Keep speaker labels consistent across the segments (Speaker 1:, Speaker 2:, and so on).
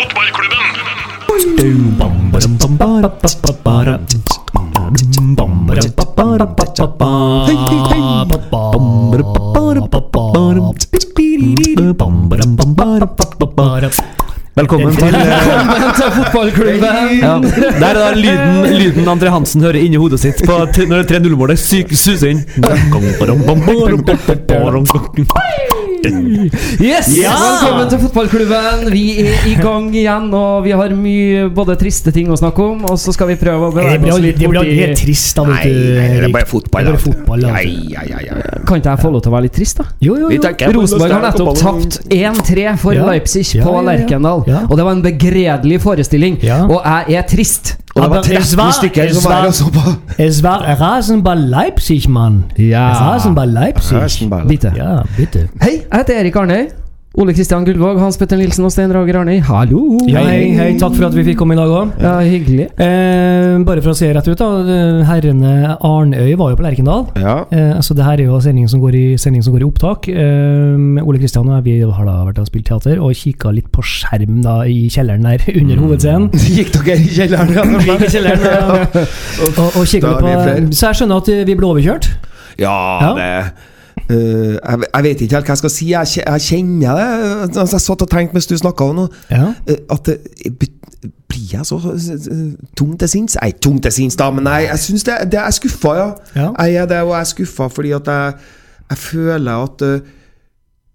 Speaker 1: Fotballklubben!
Speaker 2: Velkommen til eh,
Speaker 3: til fotballklubben!
Speaker 2: ja, Der er da lyden, lyden André Hansen hører inni hodet sitt på, t- når det 3-0-målet syk- suser inn.
Speaker 3: Yes!
Speaker 2: Ja!
Speaker 3: Velkommen til fotballklubben. Vi er i gang igjen, og vi har mye både triste ting å snakke om, og så skal vi prøve å
Speaker 4: Det
Speaker 3: bevege
Speaker 4: blir
Speaker 3: oss
Speaker 4: aldri,
Speaker 3: litt
Speaker 4: det blir
Speaker 3: bort
Speaker 4: aldri
Speaker 3: i
Speaker 4: helt trist da, vet
Speaker 5: Nei,
Speaker 4: du.
Speaker 5: nei, det er
Speaker 4: Erik.
Speaker 5: bare fotball.
Speaker 4: Det er bare
Speaker 5: altså.
Speaker 4: fotball, altså.
Speaker 5: Nei, ja, ja, ja, ja.
Speaker 3: Kan ikke jeg få lov til å være litt trist, da?
Speaker 4: Jo, jo,
Speaker 5: Vi
Speaker 4: jo.
Speaker 5: tenker på
Speaker 3: Rosenborg har
Speaker 5: Løstein
Speaker 3: nettopp
Speaker 5: og ballen.
Speaker 3: tapt 1-3 for
Speaker 4: Ja.
Speaker 3: Leipzig
Speaker 4: Ja,
Speaker 3: på
Speaker 4: ja, ja.
Speaker 3: Lerkendal.
Speaker 4: Ja.
Speaker 3: Og det var en begredelig forestilling,
Speaker 4: Ja.
Speaker 3: og jeg er trist.
Speaker 5: Og det
Speaker 4: Aber
Speaker 5: var 13
Speaker 4: Elsvar-
Speaker 5: stykker som altså?
Speaker 4: Elsvar-
Speaker 5: var og så på.
Speaker 4: Es war Rasenball Leipzig, Mann.
Speaker 3: Ja.
Speaker 4: Rasenball Leipzig.
Speaker 3: Bitte.
Speaker 4: Ja, bitte.
Speaker 3: Hei, jeg heter Erik Arnøy. Ole Kristian Gullvåg, Hans Petter Nilsen og Stein Rager Arnøy. Hallo!
Speaker 4: hei, hei, takk for at vi fikk komme i dag òg.
Speaker 3: Ja, hyggelig.
Speaker 4: Eh, bare for å se rett ut, da. Herrene Arnøy var jo på Lerkendal.
Speaker 5: Ja.
Speaker 4: Eh, altså, det her er jo sendingen som går i, sendingen som går i opptak. Eh, Ole Kristian og jeg vi har da vært og spilt teater og kikka litt på skjerm da, i kjelleren der under hovedscenen.
Speaker 5: Mm. Gikk dere i kjelleren?
Speaker 4: Vi gikk i kjelleren, ja. Og, og kikket
Speaker 5: Da er
Speaker 4: litt
Speaker 5: vi flere.
Speaker 4: på, så jeg skjønner at eh, vi ble overkjørt.
Speaker 5: Ja,
Speaker 4: Ja.
Speaker 5: det Eh, jeg, jeg vet ikke helt hva jeg skal si. Jeg, kje- jeg kjenner det. Altså, jeg satt og tenkte mens du snakka om noe,
Speaker 4: Ja.
Speaker 5: eh, at eh, be- blir jeg så eh, tung til sinns? Nei, tung til sinns, da, men nei, jeg syns det, det er skuffa, ja.
Speaker 4: Ja.
Speaker 5: Jeg er det, og jeg er skuffa fordi at jeg, jeg føler at eh,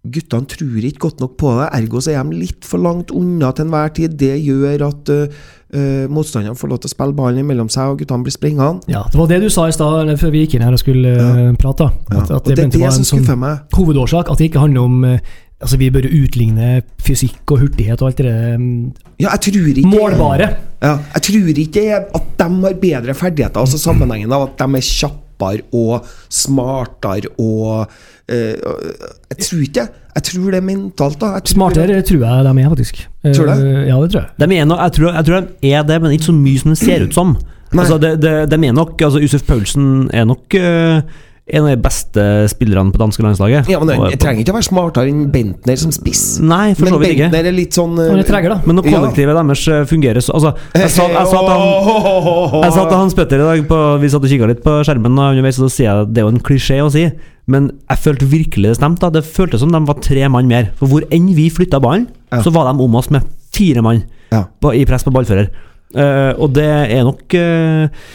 Speaker 5: guttene tror ikke godt nok på det, ergo så er de litt for langt unna til enhver tid. Det gjør at eh, eh, motstanderne får lov til å spille ballen imellom seg, og guttene blir springende.
Speaker 4: Ja, det var det du sa i stad eller før vi gikk inn her og skulle eh, prate. da.
Speaker 5: Ja.
Speaker 4: At,
Speaker 5: Og
Speaker 4: at det,
Speaker 5: det er
Speaker 4: mente
Speaker 5: det
Speaker 4: var en
Speaker 5: som
Speaker 4: sånn
Speaker 5: skuffer meg.
Speaker 4: hovedårsak. At det ikke handler om eh, Altså, vi bør utligne fysikk og hurtighet og alt det der mm,
Speaker 5: Ja, jeg tror ikke
Speaker 4: målbare.
Speaker 5: Ja, jeg tror ikke det er at de har bedre ferdigheter, altså sammenhengen av at de er kjappere og smartere og eh, Jeg tror ikke det. Jeg tror det er mentalt, da. Jeg tror
Speaker 4: Smartere tror jeg de er, faktisk. Eh,
Speaker 5: Tror du det?
Speaker 4: Ja, det tror jeg.
Speaker 2: De er nok, jeg, tror, jeg tror de er det, men ikke så mye som det ser ut som.
Speaker 5: Nei.
Speaker 2: Altså, de, de, de er nok, altså Yusuf Paulsen er nok eh, en av de beste spillerne på danske landslaget.
Speaker 5: Ja, men
Speaker 2: Og-
Speaker 5: Jeg trenger ikke å være smartere enn Bentner som spiss.
Speaker 2: Nei, Mm. for
Speaker 5: Men
Speaker 2: så vidt ikke.
Speaker 5: Bentner er litt sånn eh,
Speaker 4: Han er treger, da.
Speaker 2: Men når kollektivet deres eh, fungerer så Altså, jeg sa, jeg sa at han Jeg sa til Hans Petter i dag på, Vi satt og kikket litt på skjermen og underveis Og da sier jeg at det er jo en klisjé å si Men jeg følte virkelig det stemte da. Det føltes som de var tre mann mer For hvor enn vi flyttet ballen
Speaker 5: Ja.
Speaker 2: Så var de om oss med fire mann
Speaker 5: Ja.
Speaker 2: på, I press på ballfører Eh, Og det er nok eh,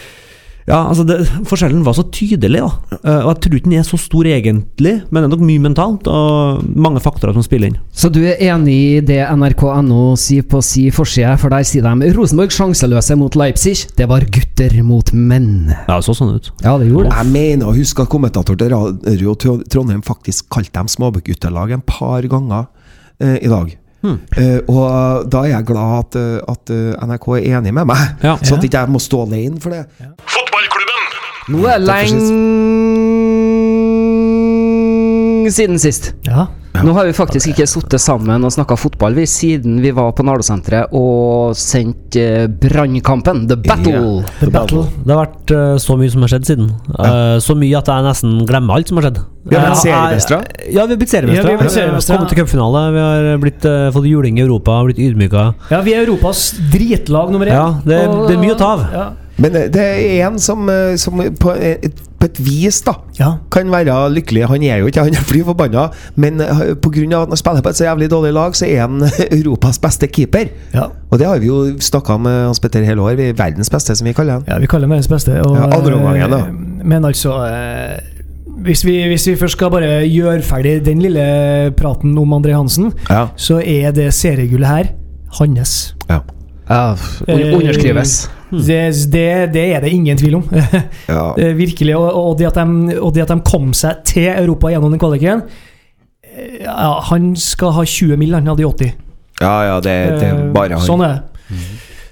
Speaker 2: ja, altså det, Forskjellen var så tydelig. da Eh, Og Jeg tror ikke den er så stor egentlig, men det er nok mye mentalt og mange faktorer som spiller inn.
Speaker 3: Så du er enig i det NRK.no sier på si forside, for der sier de Rosenborg sjanseløse mot Leipzig. Det var gutter mot menn.
Speaker 2: Ja, det så sånn ut.
Speaker 3: Ja, det gjorde det.
Speaker 5: Jeg mener å huske at kommentator til Radio Tro- Trondheim faktisk kalte dem småbukguttelag en par ganger eh, i dag. Eh, og da er jeg glad at, eh, at eh, NRK er enig med meg,
Speaker 2: Ja.
Speaker 5: så at ikke jeg må stå alene for det.
Speaker 1: Fotballklubben!
Speaker 3: Nå er det
Speaker 5: Takk for
Speaker 3: lenge siden sist.
Speaker 4: Ja.
Speaker 3: Nå har vi faktisk ikke sittet sammen og snakka fotball vi, siden vi var på Nardo-senteret og sendte eh, Brannkampen, The Battle.
Speaker 4: The battle.
Speaker 2: Det har vært eh, så mye som har skjedd siden. Eh, så mye at jeg nesten glemmer alt som har skjedd. Eh,
Speaker 5: Vi har blitt
Speaker 2: Jeg- jeg-
Speaker 5: seriemestere.
Speaker 2: Ja, vi har blitt seriemestere.
Speaker 4: Ja, vi har blitt seriemestere.
Speaker 2: Kommet til cupfinale. Vi har blitt, eh, fått juling i Europa, har blitt ydmyka.
Speaker 4: ja, vi er Europas dritlag nummer én.
Speaker 2: Ja, det,
Speaker 4: Og-
Speaker 2: det er mye å ta av.
Speaker 4: Ja.
Speaker 5: Men eh, det er en som, eh, som på, et, på et vis da
Speaker 4: ja.
Speaker 5: kan være lykkelig. Han er jo ikke han er fly forbanna, men eh, på grunn av at han spiller på et så jævlig dårlig lag, så er han Europas beste keeper.
Speaker 4: ja.
Speaker 5: Og det har vi jo snakka med Hans Petter hele år. Vi er verdens beste, som vi kaller han.
Speaker 4: Ja, vi kaller ham verdens beste. Og,
Speaker 5: Ja, andre omgangen, da.
Speaker 4: eh, Men altså eh, hvis vi, hvis vi først skal bare gjøre ferdig den lille praten om André Hansen,
Speaker 5: Ja.
Speaker 4: så er det seriegullet her hans.
Speaker 5: Ja.
Speaker 3: Ja, f- un-
Speaker 4: Eh,
Speaker 3: underskrives.
Speaker 5: Hmm.
Speaker 4: Det, det, det er det ingen tvil om.
Speaker 5: Ja.
Speaker 4: Eh, Virkelig. Og, og, det at de, og det at de kom seg til Europa gjennom den kvaliken eh, ja, Han skal ha 20 mill., han hadde i 80.
Speaker 5: Ja, ja, det, det er
Speaker 4: Eh,
Speaker 5: bare han. Mm.
Speaker 4: Sånn er det.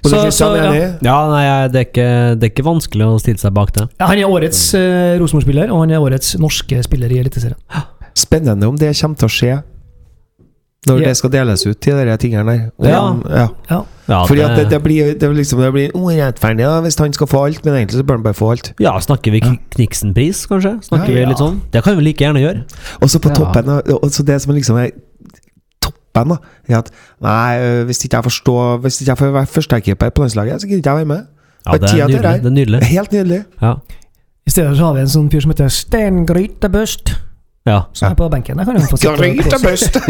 Speaker 5: Så,
Speaker 4: Så- så, ja.
Speaker 2: Ja, nei, jeg- det er, ikke, det er ikke vanskelig å stille seg bak det.
Speaker 4: Ja, Han er årets eh, Rosenborg-spiller, og han er årets norske spiller i Eliteserien.
Speaker 5: Spennende om det kommer til å skje når
Speaker 4: Ja.
Speaker 5: det skal deles ut til de tingene der. Om-
Speaker 2: Ja.
Speaker 5: ja.
Speaker 4: Ja.
Speaker 2: Ja,
Speaker 5: Fordi at det, det blir det blir liksom, det blir urettferdig ja, hvis han skal få alt, men egentlig så bør han bare få alt.
Speaker 2: ja, snakker vi Kn- Kniksen-pris, kanskje? Snakker
Speaker 4: Ja,
Speaker 2: vi
Speaker 4: ja.
Speaker 2: litt sånn? Det kan vi like gjerne gjøre.
Speaker 5: Og så på
Speaker 3: Ja.
Speaker 5: toppen av- og så det som liksom er topp toppen, da. Er at nei, øh, hvis ikke jeg forstår Hvis ikke jeg får være førstekeeper på landslaget, så gidder ikke jeg være med.
Speaker 2: Ja, det er
Speaker 5: Tida til
Speaker 2: nydelig.
Speaker 5: deg.
Speaker 2: Det er nydelig.
Speaker 5: Helt nydelig.
Speaker 2: Ja.
Speaker 4: I stedet så har vi en sånn fyr som heter Steingrytebust,
Speaker 2: Ja.
Speaker 4: som er på benken. Der kan han få sitte og
Speaker 5: Gryta
Speaker 4: kose.
Speaker 5: bøst!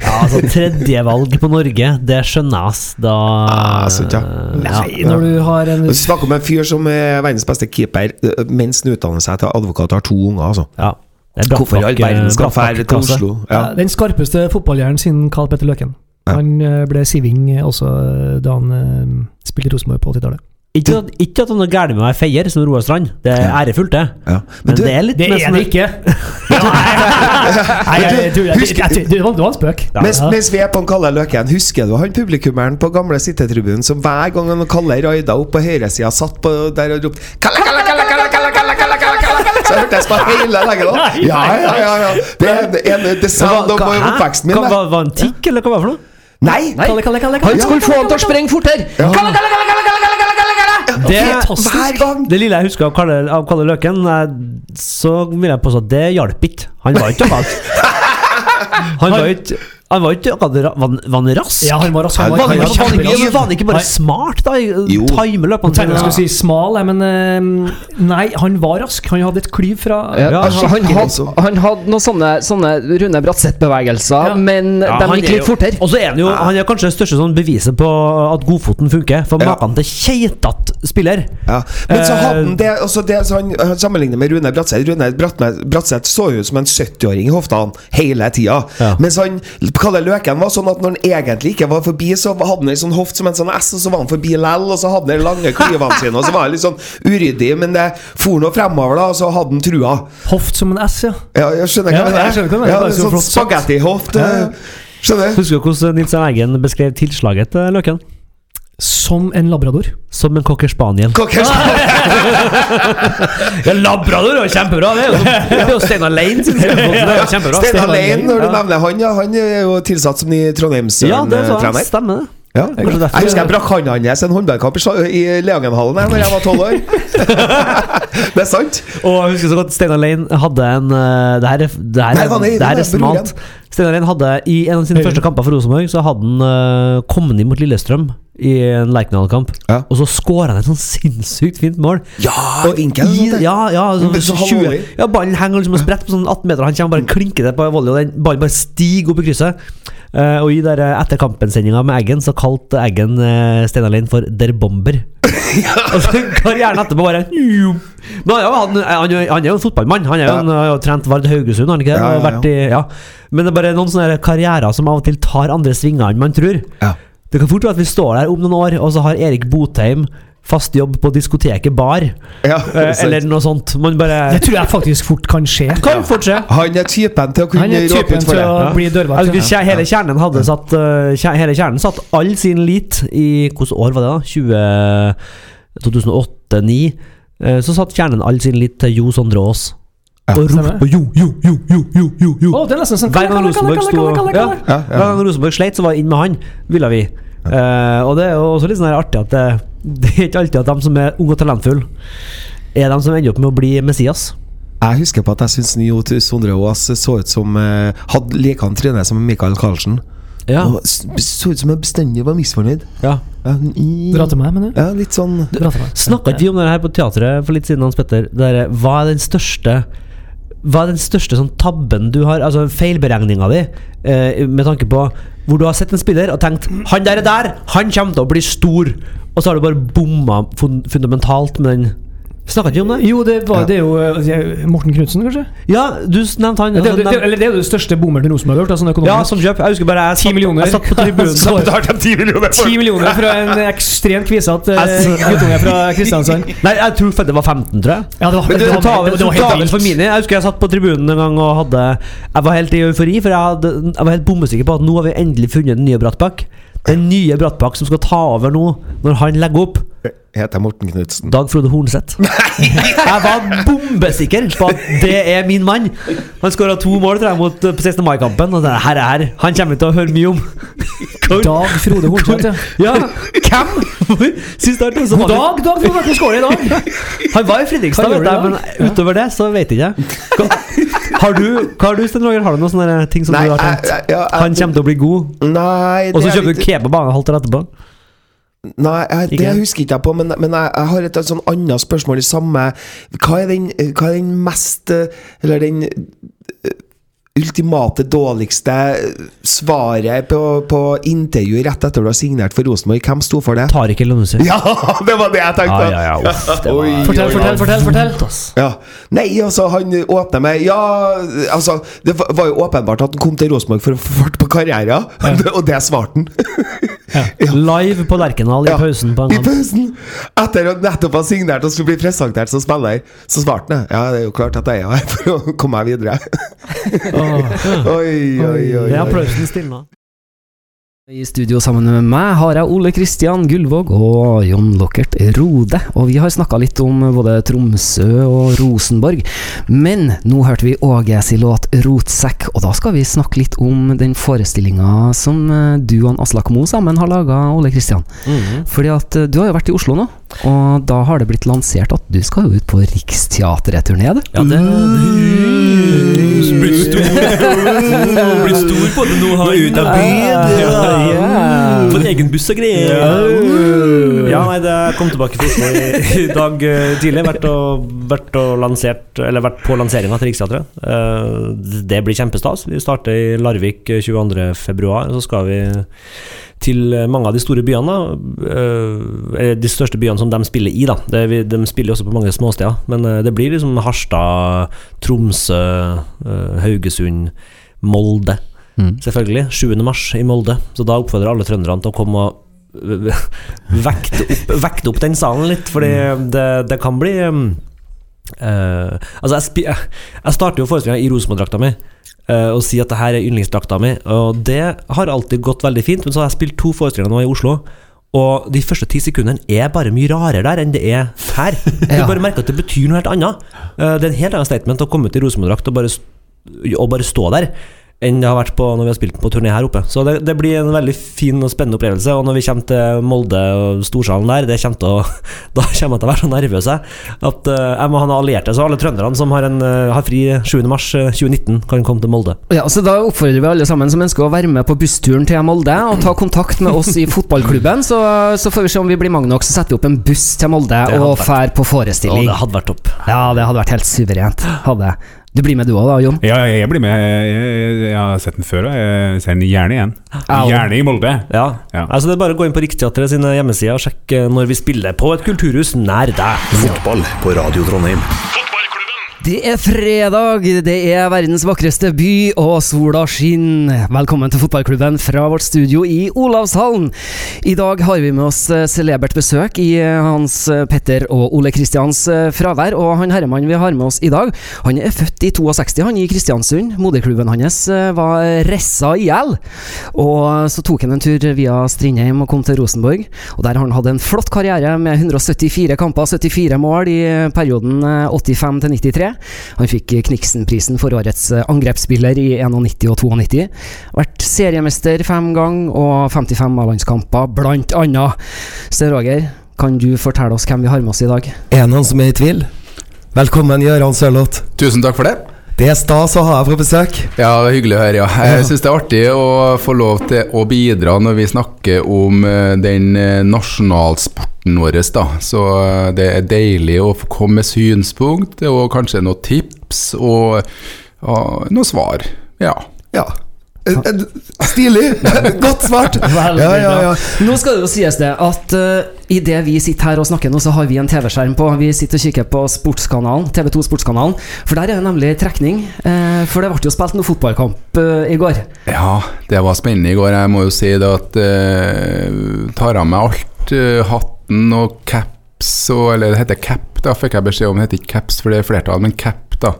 Speaker 2: ja, altså tredjevalg på Norge, det skjønner jeg, ass. Da
Speaker 5: Ah, sant, ja.
Speaker 4: Nei, når du har en
Speaker 5: Du snakker om en fyr som er verdens beste keeper øh, mens han utdanner seg til advokat og har to unger, altså.
Speaker 2: Ja. Det er
Speaker 5: Hvorfor i all
Speaker 2: brattbakke-
Speaker 5: verden skal han dra til
Speaker 2: brattbakkeklasse.
Speaker 5: Oslo? Ja.
Speaker 4: Ja, Den skarpeste fotballhjernen siden Karl Petter Løken.
Speaker 5: Ja.
Speaker 4: Han eh, ble siving eh, også eh, da han eh, spilte i Rosenborg på 80-tallet.
Speaker 2: Ikke, at- ikke at han er gæren med å være feier som Roar Strand, det er
Speaker 5: Ja.
Speaker 2: ærefullt, det.
Speaker 5: Ja.
Speaker 2: Men
Speaker 5: Men du,
Speaker 2: det er litt mer sånn-
Speaker 4: ikke! Nei, jeg- jeg tror- jeg- jeg- jeg- Det var det var en spøk.
Speaker 5: mens, mens vi er på en Kalle Løken, husker du han publikummeren på gamle sittetribunen som hver gang han og Kalle raida opp på høyresida, satt på der og ropte Kalle, Kalle, Kalle, Kalle, Kalle, Kalle, Kalle, Kalle, Kalle Så hørtes på hele legget. Ja, ja, ja, ja. Det er en- en the sound of
Speaker 2: Hva- hæ?
Speaker 5: oppveksten min.
Speaker 2: Hva-
Speaker 5: det.
Speaker 2: Var var han tikk, eller hva var det for noe?
Speaker 5: Nei!
Speaker 4: Kalle, Kalle, Kalle,
Speaker 3: Han
Speaker 4: Kalle.
Speaker 3: skulle få han til å sprenge fortere!
Speaker 5: Kalle, Kalle, Kalle, Kalle, Kalle, Kalle, Kalle, Kalle.
Speaker 2: Det,
Speaker 4: Fantastisk.
Speaker 5: Hver gang.
Speaker 2: det lille jeg husker av Kalle, av Kalle Løken, eh, så vil jeg påstå at det hjalp ikke. Han var ikke akkurat Han var ikke Han var ikke akkurat ra- Var han- var han rask?
Speaker 4: Ja, han var rask.
Speaker 5: Han
Speaker 4: Han
Speaker 2: Var
Speaker 4: var,
Speaker 2: han,
Speaker 4: han var
Speaker 2: ikke- var han,
Speaker 4: kjemperask.
Speaker 2: ikke- var han ikke bare
Speaker 4: Nei.
Speaker 2: smart, da?
Speaker 5: Jo.
Speaker 2: Time løpene
Speaker 4: Jeg tenkte jeg skulle
Speaker 2: sine?
Speaker 4: si smal, jeg, men eh, Nei, han var rask. Han hadde et klyv fra
Speaker 3: Ja,
Speaker 2: Ja,
Speaker 3: Eh, han, han,
Speaker 5: skikkelig,
Speaker 3: had,
Speaker 5: liksom.
Speaker 3: han hadde noen sånne, sånne Rune Bratseth-bevegelser,
Speaker 4: Ja.
Speaker 3: men
Speaker 2: Ja, han
Speaker 3: de gikk
Speaker 2: er
Speaker 3: litt
Speaker 2: jo-
Speaker 3: fortere.
Speaker 2: Og så er han jo Han er kanskje det største sånn beviset på at godfoten funker. For
Speaker 5: Ja.
Speaker 2: maken til keitete spiller.
Speaker 5: Ja. Men så hadde
Speaker 2: Eh,
Speaker 5: han det, også det så han, han sammenligner med Rune Bratseth. Rune Bratne- Bratseth så jo ut som en 70-åring i hofta han hele tida.
Speaker 2: Ja.
Speaker 5: Mens han Kalle Løken var sånn at når han egentlig ikke var forbi, så hadde han ei sånn hoft som en sånn S, og så var han forbi lell, og så hadde han de lange klyvene sine, og så var han litt sånn uryddig, men det for nå fremover, da, og så hadde han trua.
Speaker 4: hoft som en S, ja.
Speaker 5: Ja, jeg skjønner
Speaker 4: Ja,
Speaker 5: hva
Speaker 4: jeg skjønner hva du mener.
Speaker 5: Ja,
Speaker 4: Det er
Speaker 5: det er sånn
Speaker 4: så flott sagt.
Speaker 5: spagettihoft. eh, Skjønner du?
Speaker 2: Husker du hvordan Nils Arne Eggen beskrev tilslaget til Løken?
Speaker 4: Som en labrador.
Speaker 2: Som en cocker spaniel.
Speaker 5: Kokkers-
Speaker 2: Ja, Labrador er jo kjempebra! Det er jo, det er jo Steinar Lein sin det er jo kjempebra.
Speaker 5: Stein Alein, når du
Speaker 2: Ja.
Speaker 5: nevner han, ja, han er jo tilsatt som ny
Speaker 2: Ja, det er sånn.
Speaker 5: Trondheims-trener.
Speaker 2: stemmer det.
Speaker 5: Ja. Jeg
Speaker 2: Kanskje derfor-
Speaker 5: husker jeg brakk hånda hans i en håndballkamp i Sla- i Leangenhallen jeg, Når jeg var tolv år. det er sant.
Speaker 2: Og jeg husker så godt Steinar Lein hadde en eh, Det her er, det her,
Speaker 5: Nei,
Speaker 2: er-
Speaker 5: han er-
Speaker 2: det her
Speaker 5: det er
Speaker 2: er smalt. Steinar Lein hadde i en av sine
Speaker 4: Høyre.
Speaker 2: første kamper for Rosenborg Så hadde han eh, kommet inn mot Lillestrøm i en Lerkendal-kamp.
Speaker 5: Ja.
Speaker 2: Og så skåra han et sånn sinnssykt fint mål.
Speaker 5: Ja,
Speaker 2: Og
Speaker 5: vinkel. sånn
Speaker 2: i,
Speaker 5: det.
Speaker 2: ja, ja,
Speaker 5: Men det er så
Speaker 2: så, 20,
Speaker 5: halvvolley.
Speaker 2: ja, ballen henger liksom og spretter på sånn 18 meter, og han kommer bare og klinker det på volley, og den ballen bare stiger opp i krysset. Eh, og i der, eh, etter kampen-sendinga med Eggen, så kalte Eggen uh, Steinar Lein for 'Der Bomber'. og så karrieren etterpå bare Men han, er jo- han, han, er jo- han er jo en fotballmann. Han er jo
Speaker 5: Ja.
Speaker 2: en, har jo trent Vard Haugesund, har han ikke det?
Speaker 5: Ja, ja, ja.
Speaker 2: Vært i, ja. Men det er bare noen sånne karrierer som av og til tar andre svinger enn man tror.
Speaker 5: Ja.
Speaker 2: Det kan fort være at vi står der om noen år, og så har Erik Botheim fast jobb på diskoteket Bar.
Speaker 5: Ja,
Speaker 2: Eh,
Speaker 5: sant.
Speaker 2: Eller noe sånt. Man bare
Speaker 4: Det tror jeg faktisk fort kan skje.
Speaker 2: Kan fort skje.
Speaker 5: han er typen til å
Speaker 4: Han
Speaker 5: kunne
Speaker 4: er
Speaker 5: råpe
Speaker 4: typen
Speaker 5: ut for
Speaker 4: til
Speaker 5: det.
Speaker 4: å bli dørvakt.
Speaker 2: Altså, hvis kje- hele kjernen hadde satt eh, kje- Hele kjernen satt all sin lit i Hvilket år var det, da? 2008-2009. Eh, Så satt kjernen all sin lit til Jo Sondre Aas. Og
Speaker 4: stemmer.
Speaker 2: ropte på jo, jo, jo, jo, jo, jo, jo.
Speaker 4: Å, det er nesten sånn
Speaker 2: Hver gang Rosenborg sto ja,
Speaker 5: Ja,
Speaker 2: Hver gang Rosenborg sleit, så var det inn med han, ville vi. Eh, og det er jo også litt sånn her artig at det, det er ikke alltid at de som er unge og talentfulle, er de som ender opp med å bli Messias.
Speaker 5: Jeg husker på at jeg syns Nio Sondre Aas så ut som eh, Hadde like han trynet som Michael Karlsen.
Speaker 2: Ja,
Speaker 5: Og s- Så ut som jeg bestandig var misfornøyd.
Speaker 2: ja
Speaker 5: Ja, i-
Speaker 4: Dra til meg, mener du?
Speaker 5: ja, litt sånn
Speaker 4: Dra til meg.
Speaker 2: Snakka ikke vi om det her på teatret for litt siden, Hans Petter? Det derre, hva er den største Hva er den største sånn tabben du har, altså feilberegninga di, eh, med tanke på hvor du har sett en spiller og tenkt 'Han der er der! Han kommer til å bli stor!' Og så har du bare bomma fun fundamentalt med den Snakka ikke vi om det?
Speaker 4: Jo, det, var, det er jo eh, Morten Knutsen, kanskje?
Speaker 2: Ja, du s- nevnte han.
Speaker 4: Det, det, det,
Speaker 2: nevnte-
Speaker 4: eller det er jo det største bommerten Rosenborg har gjort. da, Sånn
Speaker 2: ja,
Speaker 4: økonomisk.
Speaker 2: som kjøp. Jeg husker bare jeg
Speaker 4: 10 millioner.
Speaker 2: jeg satt på tribunen.
Speaker 4: Så
Speaker 5: betalte de 10 millioner for
Speaker 4: Ti millioner fra en ekstremt kvisete eh,
Speaker 2: Altså.
Speaker 4: guttunge fra Kristiansand.
Speaker 2: Nei, jeg tror faktisk det var 15, tror jeg.
Speaker 4: Ja, det var,
Speaker 5: Men
Speaker 4: det,
Speaker 5: du,
Speaker 4: var,
Speaker 2: Du tar vel-
Speaker 4: det, var,
Speaker 2: du tar
Speaker 4: helt
Speaker 2: vel for
Speaker 4: vilt.
Speaker 2: mine. Jeg husker jeg satt på tribunen en gang og hadde Jeg var helt i eufori, for jeg, hadde, jeg var helt bommesikker på at nå har vi endelig funnet den nye Brattbakk. Den nye Brattbakk som skal ta over nå, når han legger opp.
Speaker 5: Heter jeg Morten Knutsen.
Speaker 2: Dag Frode Hornseth. Jeg var bombesikker på at det er min mann. Han skåra to mål tror jeg, mot eh, på 16. mai-kampen. Og det her er her. Han kommer vi til å høre mye om. Hvor-
Speaker 4: Dag Frode Hornseth, ja.
Speaker 2: ja. Hvem? Hvor? Sist dag, så var
Speaker 4: God
Speaker 2: det-
Speaker 4: dag, Dag Frode! Hvordan går det i dag?
Speaker 2: han var i Fredrikstad,
Speaker 4: Hva
Speaker 2: vet
Speaker 4: gjorde
Speaker 2: jeg,
Speaker 4: du
Speaker 2: men utover det så vet jeg ikke. Hva- Har du, hva har du, Sten Roger? Har du noen sånne der ting som
Speaker 5: Nei,
Speaker 2: du har
Speaker 5: jeg-
Speaker 2: tenkt?
Speaker 5: jeg- ja, jeg-
Speaker 2: Han kommer til å bli god,
Speaker 5: Nei,
Speaker 2: og
Speaker 5: det
Speaker 2: så
Speaker 5: er
Speaker 2: kjøper du
Speaker 5: litt-
Speaker 2: kebab og halvt år etterpå?
Speaker 5: Nei, jeg, det
Speaker 2: Ikke?
Speaker 5: husker ikke jeg på, men, men jeg, jeg har et, et sånn annet spørsmål i samme Hva er den, hva er den mest eh, Eller den eh, ultimate dårligste svaret på, på intervju rett etter du har signert for Rosenborg? Hvem sto for det?
Speaker 2: Tar ikke lønnsøk.
Speaker 5: Ja, det var det jeg tenkte!
Speaker 2: Ja, ja, ja, uff, det var-
Speaker 5: Oi, oi,
Speaker 4: Fortell,
Speaker 5: oi.
Speaker 4: fortell, fortell! fortell.
Speaker 5: Ja. Nei, altså, han åpner med Ja, altså Det var var jo åpenbart at han kom til Rosenborg for å få fart på karrieren, og det svarte han.
Speaker 2: Live på Lerkendal i
Speaker 5: Ja,
Speaker 2: pausen på
Speaker 5: I
Speaker 2: en gang.
Speaker 5: pausen! Etter å nettopp ha signert og skulle bli presentert som spiller, så svarte han Ja, det er jo klart at jeg er her for å komme meg videre.
Speaker 2: Åh,
Speaker 5: Oi, oi, oi.
Speaker 2: Mm. Det er
Speaker 5: oi.
Speaker 2: applausen stilna.
Speaker 3: I studio sammen med meg har jeg Ole Kristian Gullvåg og Jon Lockert Rode. Og vi har snakka litt om både Tromsø og Rosenborg. Men nå hørte vi Åge sin låt 'Rotsekk', og da skal vi snakke litt om den forestillinga som eh, du og han Aslak Moe sammen har laga, Ole Kristian. Fordi at eh, du har jo vært i Oslo nå, og da har det blitt lansert at du skal jo ut på Riksteatreturné, du.
Speaker 2: Ja, det
Speaker 1: Blitt stor. Blitt stor på det nå, han. Ut av
Speaker 2: Ja,
Speaker 3: ja.
Speaker 1: Fått egen buss og greier.
Speaker 2: Ja, nei, det jeg kom tilbake til Oslo i, i dag eh, tidlig. Vært, og, vært, og lansert, eller vært på lanseringa til Riksteatret. Eh, det blir kjempestas. Vi starter i Larvik eh, 22. februar Så skal vi til eh, mange av de store byene. da. Eh, eh, de største byene som de spiller i. da det, er vi, De spiller jo også på mange småsteder. Men eh, det blir liksom Harstad, Tromsø, eh, Haugesund, Molde.
Speaker 3: Mm.
Speaker 2: Selvfølgelig. 7. mars i Molde. Så da oppfordrer alle trønderne til å komme og øh, vekte opp, vekte opp den salen litt, fordi
Speaker 3: Mm.
Speaker 2: det, det kan bli um, eh, Altså, jeg, spi, jeg, jeg starter jo forestillinga i Rosenborg-drakta mi. eh, og sier at det her er yndlingsdrakta mi. Og det har alltid gått veldig fint, men så har jeg spilt to forestillinger nå i Oslo. Og de første ti sekundene er bare mye rarere der enn det er her. Du
Speaker 3: Ja.
Speaker 2: bare merker at det betyr noe helt annet. Eh, det er en helt annen statement å komme ut i Rosenborg-drakt og, bare st- og bare stå der, enn det har vært på når vi har spilt på turné her oppe. Så det, det blir en veldig fin og spennende opplevelse. Og når vi kommer til Molde og storsalen der, det kommer til å, da kommer jeg til å være så nervøs jeg, at eh, jeg må ha noen allierte. Så alle trønderne som har, en, eh, har fri 7. mars eh, 2019, kan komme til Molde.
Speaker 3: Ja, så Da oppfordrer vi alle sammen som ønsker å være med på bussturen til Molde, og ta kontakt med oss i fotballklubben. Så, så får vi se om vi blir mange nok, så setter vi opp en buss til Molde
Speaker 2: Det hadde
Speaker 3: og
Speaker 2: vært-
Speaker 3: fær på
Speaker 2: Og
Speaker 3: forestilling.
Speaker 2: det hadde vært topp.
Speaker 3: Ja, det hadde vært helt suverent. Hadde. Du blir med du òg da, Jon?
Speaker 6: Ja, jeg jeg blir med. Jeg, jeg, jeg har sett den før, og jeg ser den gjerne igjen.
Speaker 3: Au.
Speaker 6: Gjerne i Molde.
Speaker 2: Ja.
Speaker 6: Ja.
Speaker 2: Altså, det er bare å gå inn på Riksteatret sine hjemmesider og sjekke når vi spiller på et kulturhus nær deg.
Speaker 7: Fotball på Radio Trondheim.
Speaker 3: Det er fredag, det er verdens vakreste by, og sola skinner. Velkommen til fotballklubben fra vårt studio i Olavshallen. I dag har vi med oss eh, celebert besøk i eh, Hans eh, Petter og Ole Kristians eh, fravær. Og han herremannen vi har med oss i dag, han er født i 62, han i Kristiansund. Moderklubben hans eh, var ressa i hjel. Og eh, så tok han en tur via Strindheim og kom til Rosenborg. Og der har han hatt en flott karriere med 174 kamper, 74 mål i eh, perioden eh, 85 til 93. Han fikk eh, Kniksen-prisen for årets eh, angrepsspiller i 91 og 92. Vært seriemester fem ganger og 55 A-landskamper, blant annet. Sten Roger, kan du fortelle oss hvem vi har med oss i dag?
Speaker 8: Er det noen som er i tvil? Velkommen, Gøran Sørloth.
Speaker 9: Tusen takk for det.
Speaker 8: Det er stas å ha deg på besøk.
Speaker 9: Ja, det er Hyggelig å høre. ja. Jeg syns det er artig å få lov til å bidra når vi snakker om eh, den eh, nasjonalsporten vår. da. Så eh, det er deilig å få komme med synspunkt og kanskje noen tips og ja, noen svar. Ja.
Speaker 5: Ja. Eh, eh, Stilig! Godt svart! Ja, ja, ja.
Speaker 3: Nå skal det jo sies det at uh, idet vi sitter her og snakker nå, så har vi en TV-skjerm på. Vi sitter og kikker på sportskanalen, TV2 Sportskanalen, for der er det nemlig trekning. eh, for det ble jo spilt noe fotballkamp eh, i går.
Speaker 9: Ja, det var spennende i går. Jeg må jo si det at uh, tar av meg alt. eh, hatten og caps og Eller det heter cap, da, fikk jeg beskjed om. Det heter ikke caps, for det er flertall, men cap, da.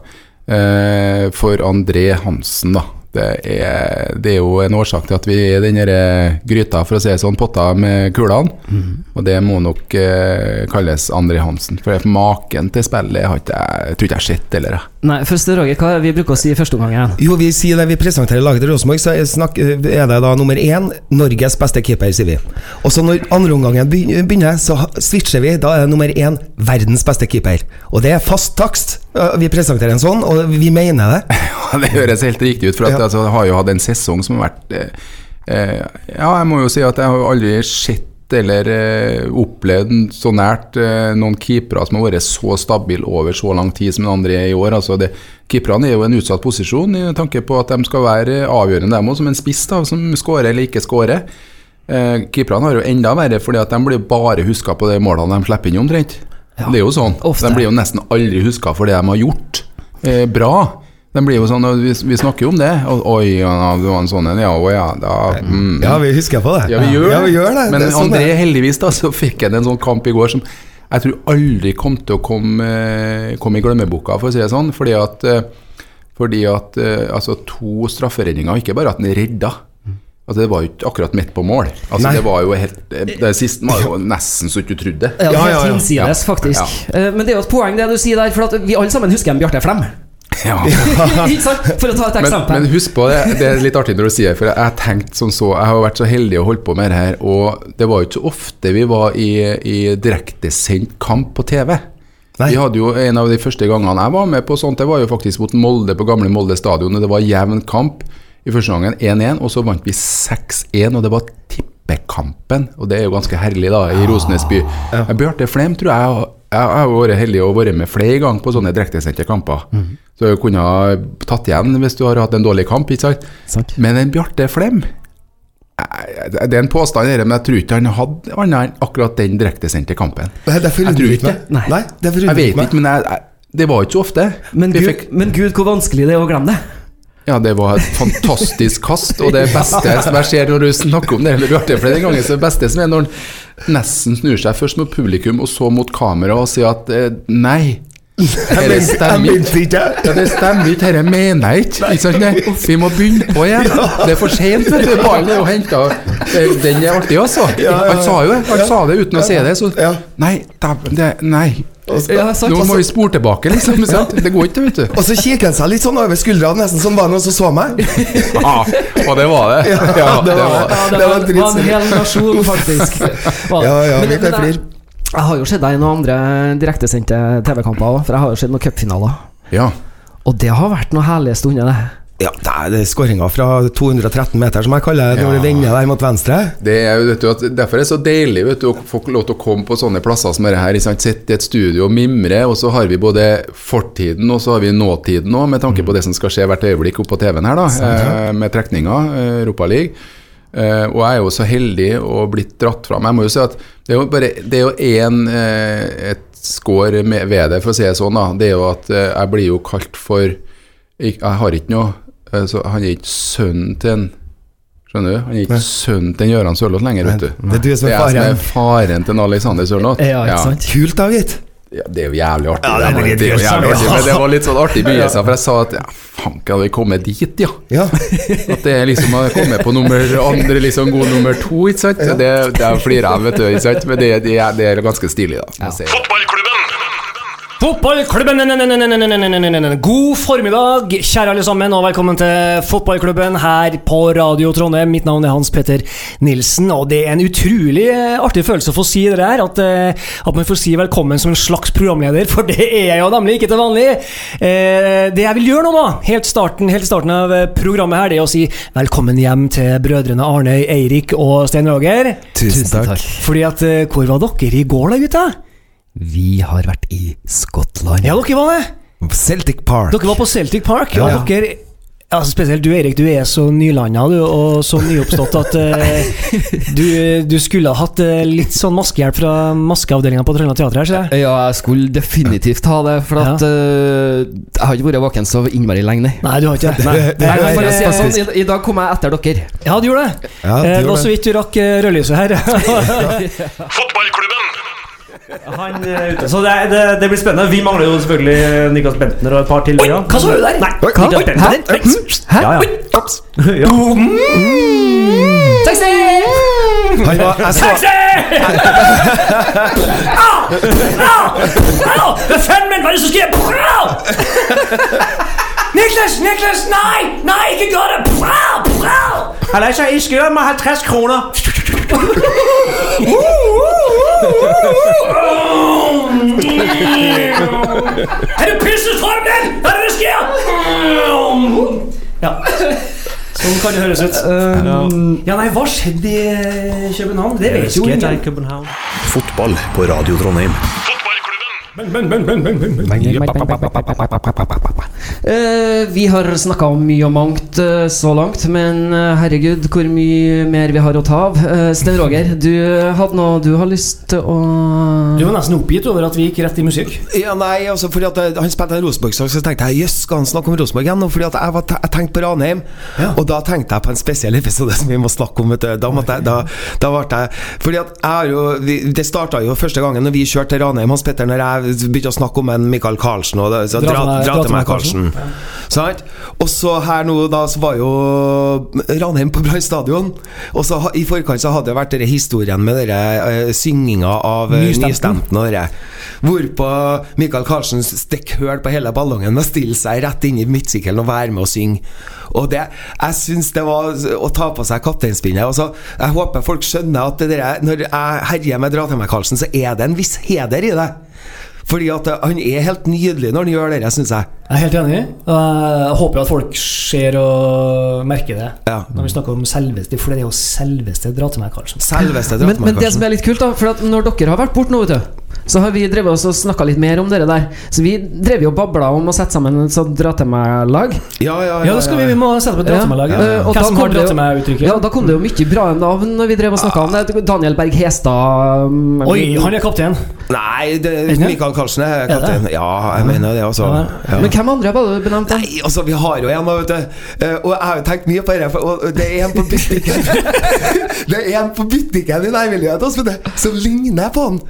Speaker 9: eh, for André Hansen, da. Det er, det er jo en årsak til at vi er i den derre gryta, for å si det sånn, potta med kulene. Og det må nok eh, kalles André Hansen. For maken til spillet har ikke jeg jeg tror ikke jeg har sett heller, jeg.
Speaker 3: Nei, først Roger, hva er det vi bruker å si i første omgang igjen?
Speaker 8: Jo, vi sier det vi presenterer laget til Rosenborg, så er, snakk, er det da nummer én Norges beste keeper, sier vi. Og så når andreomgangen begyn- begynner, så ha- switcher vi. Da er det nummer én verdens beste keeper. Og det er fast takst. Eh, Vi presenterer en sånn, og vi mener det.
Speaker 9: Ja, det høres helt riktig ut, for at,
Speaker 8: Ja.
Speaker 9: altså, jeg har jo hatt en sesong som har vært eh, eh, Ja, jeg må jo si at jeg har aldri sett eller eh, opplevd n- så nært eh, noen keepere som har vært så stabile over så lang tid som den andre er i år. Altså, det, keeperne er jo en utsatt posisjon i tanke på at de skal være eh, avgjørende, dem òg, som en spiss da, som skårer eller ikke skårer. Eh, keeperne har jo enda verre, fordi at de blir jo bare huska på de målene de slipper inn, omtrent. Det er jo sånn.
Speaker 3: ofte.
Speaker 9: De blir jo nesten aldri huska for det de har gjort eh, bra. De blir jo sånn, og vi, vi snakker jo om det. Og, Oi, ja, det var en sånn en, ja, å ja, da mm.
Speaker 8: Ja, vi husker på det.
Speaker 9: Ja, vi gjør,
Speaker 8: Ja, vi gjør det.
Speaker 9: Men
Speaker 8: det er sånn det
Speaker 9: André,
Speaker 8: er.
Speaker 9: heldigvis, da, så fikk han en sånn kamp i går som jeg tror aldri kom til å komme, eh, komme i glemmeboka, for å si det sånn. Fordi at, eh, fordi at eh, altså, to strafferedninger, ikke bare at han redda. Altså, det var jo ikke akkurat midt på mål. Altså,
Speaker 8: Nei.
Speaker 9: det var jo helt, det siste var jo nesten så ikke du trodde det.
Speaker 3: Ja,
Speaker 8: Ja,
Speaker 3: helt
Speaker 8: ja, ja.
Speaker 3: hinsides, faktisk. Eh, Men det er jo et poeng, det du sier der, for at vi alle sammen husker en Bjarte Flem.
Speaker 9: Ja.
Speaker 3: Ikke sant? For å ta et
Speaker 9: men,
Speaker 3: eksempel.
Speaker 9: men husk på det, det er litt artig når du sier det, for jeg tenkte som så, jeg har jo vært så heldig å holde på med det her, og det var jo ikke så ofte vi var i, i direktesendt kamp på TV.
Speaker 8: Nei.
Speaker 9: Vi hadde jo En av de første gangene jeg var med på sånt, det var jo faktisk mot Molde på gamle Molde stadion, og det var jevn kamp. I første gangen 1-1, og så vant vi 6-1, og det var tippekampen. Og det er jo ganske herlig, da, i Rosenes by. Bjarte Flem tror jeg har- jeg har jo vært heldig og vært med flere ganger på sånne direktesendte kamper.
Speaker 3: Mhm.
Speaker 9: Så jeg kunne ha tatt igjen hvis du har hatt en dårlig kamp, ikke sant.
Speaker 3: Sant.
Speaker 9: Men en Bjarte Flem jeg- jeg- Det er en påstand, her, men jeg tror ikke han hadde annet enn akkurat den direktesendte kampen.
Speaker 8: Nei, Derfor
Speaker 9: Jeg tror
Speaker 8: undrer
Speaker 9: ikke
Speaker 8: ikke meg.
Speaker 3: Nei.
Speaker 8: Nei, derfor
Speaker 9: Jeg
Speaker 8: undrer
Speaker 9: vet
Speaker 8: ikke meg.
Speaker 9: ikke, men jeg, jeg, det var jo ikke så ofte.
Speaker 3: Men
Speaker 9: Vi
Speaker 3: gud,
Speaker 9: fikk-
Speaker 3: men gud, hvor vanskelig det er å glemme det.
Speaker 9: Ja, det var et fantastisk kast, og det beste som jeg ser når du snakker om det, eller du har hørt det flere ganger, så det beste som er når han nesten snur seg først mot publikum og så mot kamera og sier at eh, nei. Det stemmer ikke. Ja, det stemmer ikke, dette mener jeg ikke. ikke sant? Nei, Vi må begynne på igjen. Det er for sent, vet du. Ballen er jo henta Den er artig, altså. Han sa jo det. Han sa det uten å si det. Så
Speaker 8: Ja.
Speaker 9: nei, dæven, det Nei.
Speaker 3: Ja, sant,
Speaker 9: Nå må
Speaker 3: altså.
Speaker 9: vi spore tilbake, liksom. sant? Det går ikke, vet du.
Speaker 8: Og så kikker han seg litt sånn over skuldra, nesten som var det noen som så meg.
Speaker 9: Ja, og det var det. Ja, det var
Speaker 3: Ja, det
Speaker 9: det.
Speaker 8: Det var
Speaker 3: var, det var en
Speaker 8: dritsynd.
Speaker 3: hel nasjon, faktisk. Var det.
Speaker 8: Ja, ja,
Speaker 3: Men-
Speaker 8: vi
Speaker 3: men
Speaker 8: kan
Speaker 3: jeg-
Speaker 8: flire.
Speaker 3: Jeg har jo sett deg i noen andre direktesendte TV-kamper òg, for jeg har jo sett noen cupfinaler.
Speaker 9: Ja.
Speaker 3: Og det har vært noen herlige stunder, det.
Speaker 8: Ja, det er- det er skåringa fra 213 meter, som jeg kaller det, når
Speaker 9: Ja.
Speaker 8: det vender der mot venstre.
Speaker 9: Det er, jo, vet du, at derfor er det så deilig vet du, å få lov til å komme på sånne plasser som dette. her, ikke sant? Sitte i et studio og mimre, og så har vi både fortiden og så har vi nåtiden òg, med tanke på det som skal skje hvert øyeblikk opp på TV-en her, da, eh, med trekninger, eh, Europa League. Eh, og jeg er jo så heldig og blitt dratt fram. Jeg må jo si at det er jo bare Det er jo én eh, et skår med- ved det, for å si det sånn, da. Det er jo at eh, jeg blir jo kalt for Ik- Jeg har ikke noe eh, så Han er ikke sønnen til en Skjønner du? Han er ikke sønnen til en Gøran Sørloth lenger, vet du.
Speaker 8: Det er du som
Speaker 9: Det
Speaker 8: er
Speaker 9: er jeg som
Speaker 8: faren.
Speaker 9: er faren til en Alexander Sørloth.
Speaker 3: Ja, ikke sant?
Speaker 8: Kult, da, gitt.
Speaker 9: Ja, det er jo jævlig artig.
Speaker 8: Ja, det er
Speaker 9: det,
Speaker 8: litt
Speaker 9: det, er jo
Speaker 8: gøy, sant?
Speaker 9: jævlig artig. Men det var litt sånn artig begynnelse, for jeg sa at ja, fanken, hadde vi kommet dit, ja?
Speaker 8: Ja.
Speaker 9: At det er liksom å komme på nummer andre, liksom god nummer to, ikke sant? Det, det er flirer jeg, vet du, ikke sant? Men det, det, er, det er ganske stilig, da. Ja.
Speaker 4: Fotballklubben! God formiddag, kjære alle sammen, og velkommen til fotballklubben her på Radio Trondheim. Mitt navn er Hans Petter Nilsen, og det er en utrolig eh, artig følelse å få si det der. At, eh, at man får si velkommen som en slags programleder, for det er jeg jo nemlig ikke til vanlig. Eh, Det jeg vil gjøre nå, da, helt starten, helt starten av eh, programmet her, det er å si velkommen hjem til brødrene Arne, Eirik og Stein Roger.
Speaker 8: Tusen takk.
Speaker 4: Fordi at eh, Hvor var dere i går, da, gutta?
Speaker 3: Vi har vært i Skottland.
Speaker 4: Ja, dere var det.
Speaker 8: Celtic Park.
Speaker 4: Dere var på Celtic Park, og
Speaker 8: Ja.
Speaker 4: dere altså Spesielt du, Erik. Du er så nylanda du, og så nyoppstått at eh, du, du skulle ha hatt eh, litt sånn maskehjelp fra maskeavdelinga på Trøndelag Teater her, ser jeg.
Speaker 3: Ja, jeg skulle definitivt ha det, for at eh, Jeg har ikke vært våken så innmari lenge, nei.
Speaker 4: Nei, du har ikke det.
Speaker 8: Nei, det er
Speaker 4: Nei,
Speaker 3: For å si det
Speaker 4: fantastisk.
Speaker 3: sånn, i, I dag kom jeg etter dere.
Speaker 4: Ja, du gjorde det.
Speaker 8: Ja, du
Speaker 4: Eh, det var
Speaker 8: gjorde
Speaker 4: så
Speaker 8: det.
Speaker 4: vidt du rakk eh, rødlyset her. Han er ute.
Speaker 2: eh, Så det, er- det, det blir spennende. Vi mangler jo selvfølgelig eh, Niklas Bentner og et par til.
Speaker 4: Oi,
Speaker 2: ja.
Speaker 4: hva sa du der?
Speaker 2: Nei,
Speaker 4: Oi, hva?
Speaker 2: Niklas
Speaker 4: Oi,
Speaker 2: Bentner.
Speaker 4: hæ?
Speaker 2: Hæ? Ja, ja. ja.
Speaker 8: Han var, jeg så,
Speaker 4: Ah! Au! Hva faen men, Ah! hva er det som skjer? Au! Niklas, Niklas, nei! Nei, ikke gjør det! Au! Au!
Speaker 2: Alexa, I skylder meg 50 kroner.
Speaker 4: Er du pisset varm, den? Her er det skje! Ja. Sånn kan det høres ut. Um, Ja, nei, hva skjedde i eh, København? Det vet jo ingen.
Speaker 7: Fotball på Radio Trondheim.
Speaker 3: Eh, vi har snakka om mye og mangt eh, så langt, men eh, herregud, hvor mye mer vi har å ta av. Eh, Sten Roger, du eh, hadde noe du har lyst til å
Speaker 4: Du var nesten oppgitt over at vi gikk rett i musikk.
Speaker 5: Ja, nei, altså fordi at eh, Han spilte en Rosenborg-sang, så tenkte jeg jøss, skal han snakke om Rosenborg igjen? Og Fordi at jeg, var te- jeg tenkte på Ranheim, og da tenkte jeg på en spesiell episode som vi må snakke om. Vet du. Da måtte jeg, da, da ble jeg Fordi at jeg har jo vi, Det starta jo første gangen Når vi kjørte til Ranheim, Hans Petter, når jeg begynte å snakke om en Michael Karlsen og det, så,
Speaker 4: Dra
Speaker 5: dra,
Speaker 4: til meg-
Speaker 5: dra til meg Karlsen. Mm. Sant? Og så her nå, da, så var jo Ranheim på Brann stadion. Og så ha- i forkant så hadde det vært denne historien med denne eh, synginga av eh,
Speaker 4: Nystemten.
Speaker 5: nystemten og dette. Hvorpå Michael Karlsen stikker høl på hele ballongen med å stille seg rett inn i midtsykkelen og være med og synge. Og det, jeg syns det var å ta på seg kapteinspinnet. Og så, jeg håper folk skjønner at det der, når jeg herjer med Dra til meg Karlsen, så er det en viss heder i det. Fordi at eh, han er helt nydelig når han gjør det, syns jeg.
Speaker 4: Jeg er helt enig. Og jeg håper at folk ser og merker det
Speaker 5: Ja.
Speaker 4: når vi snakker om selveste, for det er jo selveste dra til meg, Karlsen.
Speaker 5: Selveste
Speaker 3: men, men
Speaker 5: Drattmann,
Speaker 3: det som
Speaker 5: Karsten.
Speaker 3: er litt kult, da, for at når dere har vært borte nå, vet du, så har vi drevet oss og snakka litt mer om dere der. Så vi drev jo og babla om å sette sammen et sånt dra til meg-lag.
Speaker 5: Ja, ja,
Speaker 4: Ja, det skal vi, vi må sette på dra til meg-laget.
Speaker 3: Ja, Eh, og da
Speaker 4: Hvem som
Speaker 3: kom
Speaker 4: har
Speaker 3: det
Speaker 4: dra
Speaker 3: jo-
Speaker 4: til meg-uttrykket?
Speaker 3: Ja, da kom det jo mye bra navn når vi drev og snakka om det. Daniel Berg Hestad um,
Speaker 4: Ah. Oi, han er kaptein.
Speaker 5: Nei, det,
Speaker 4: Ikke sant?
Speaker 5: Michael Karlsen er kaptein. Ja, jeg mener det, altså.
Speaker 4: Ja.
Speaker 5: Ja.
Speaker 3: Men hvem andre var det du benevnte?
Speaker 5: Nei, altså, vi har jo en, vet du. Eh, Og jeg har jo tenkt mye på dette, for- og det er en på butikken Det er en på butikken i nærmiljøet altså, hos meg som ligner på han.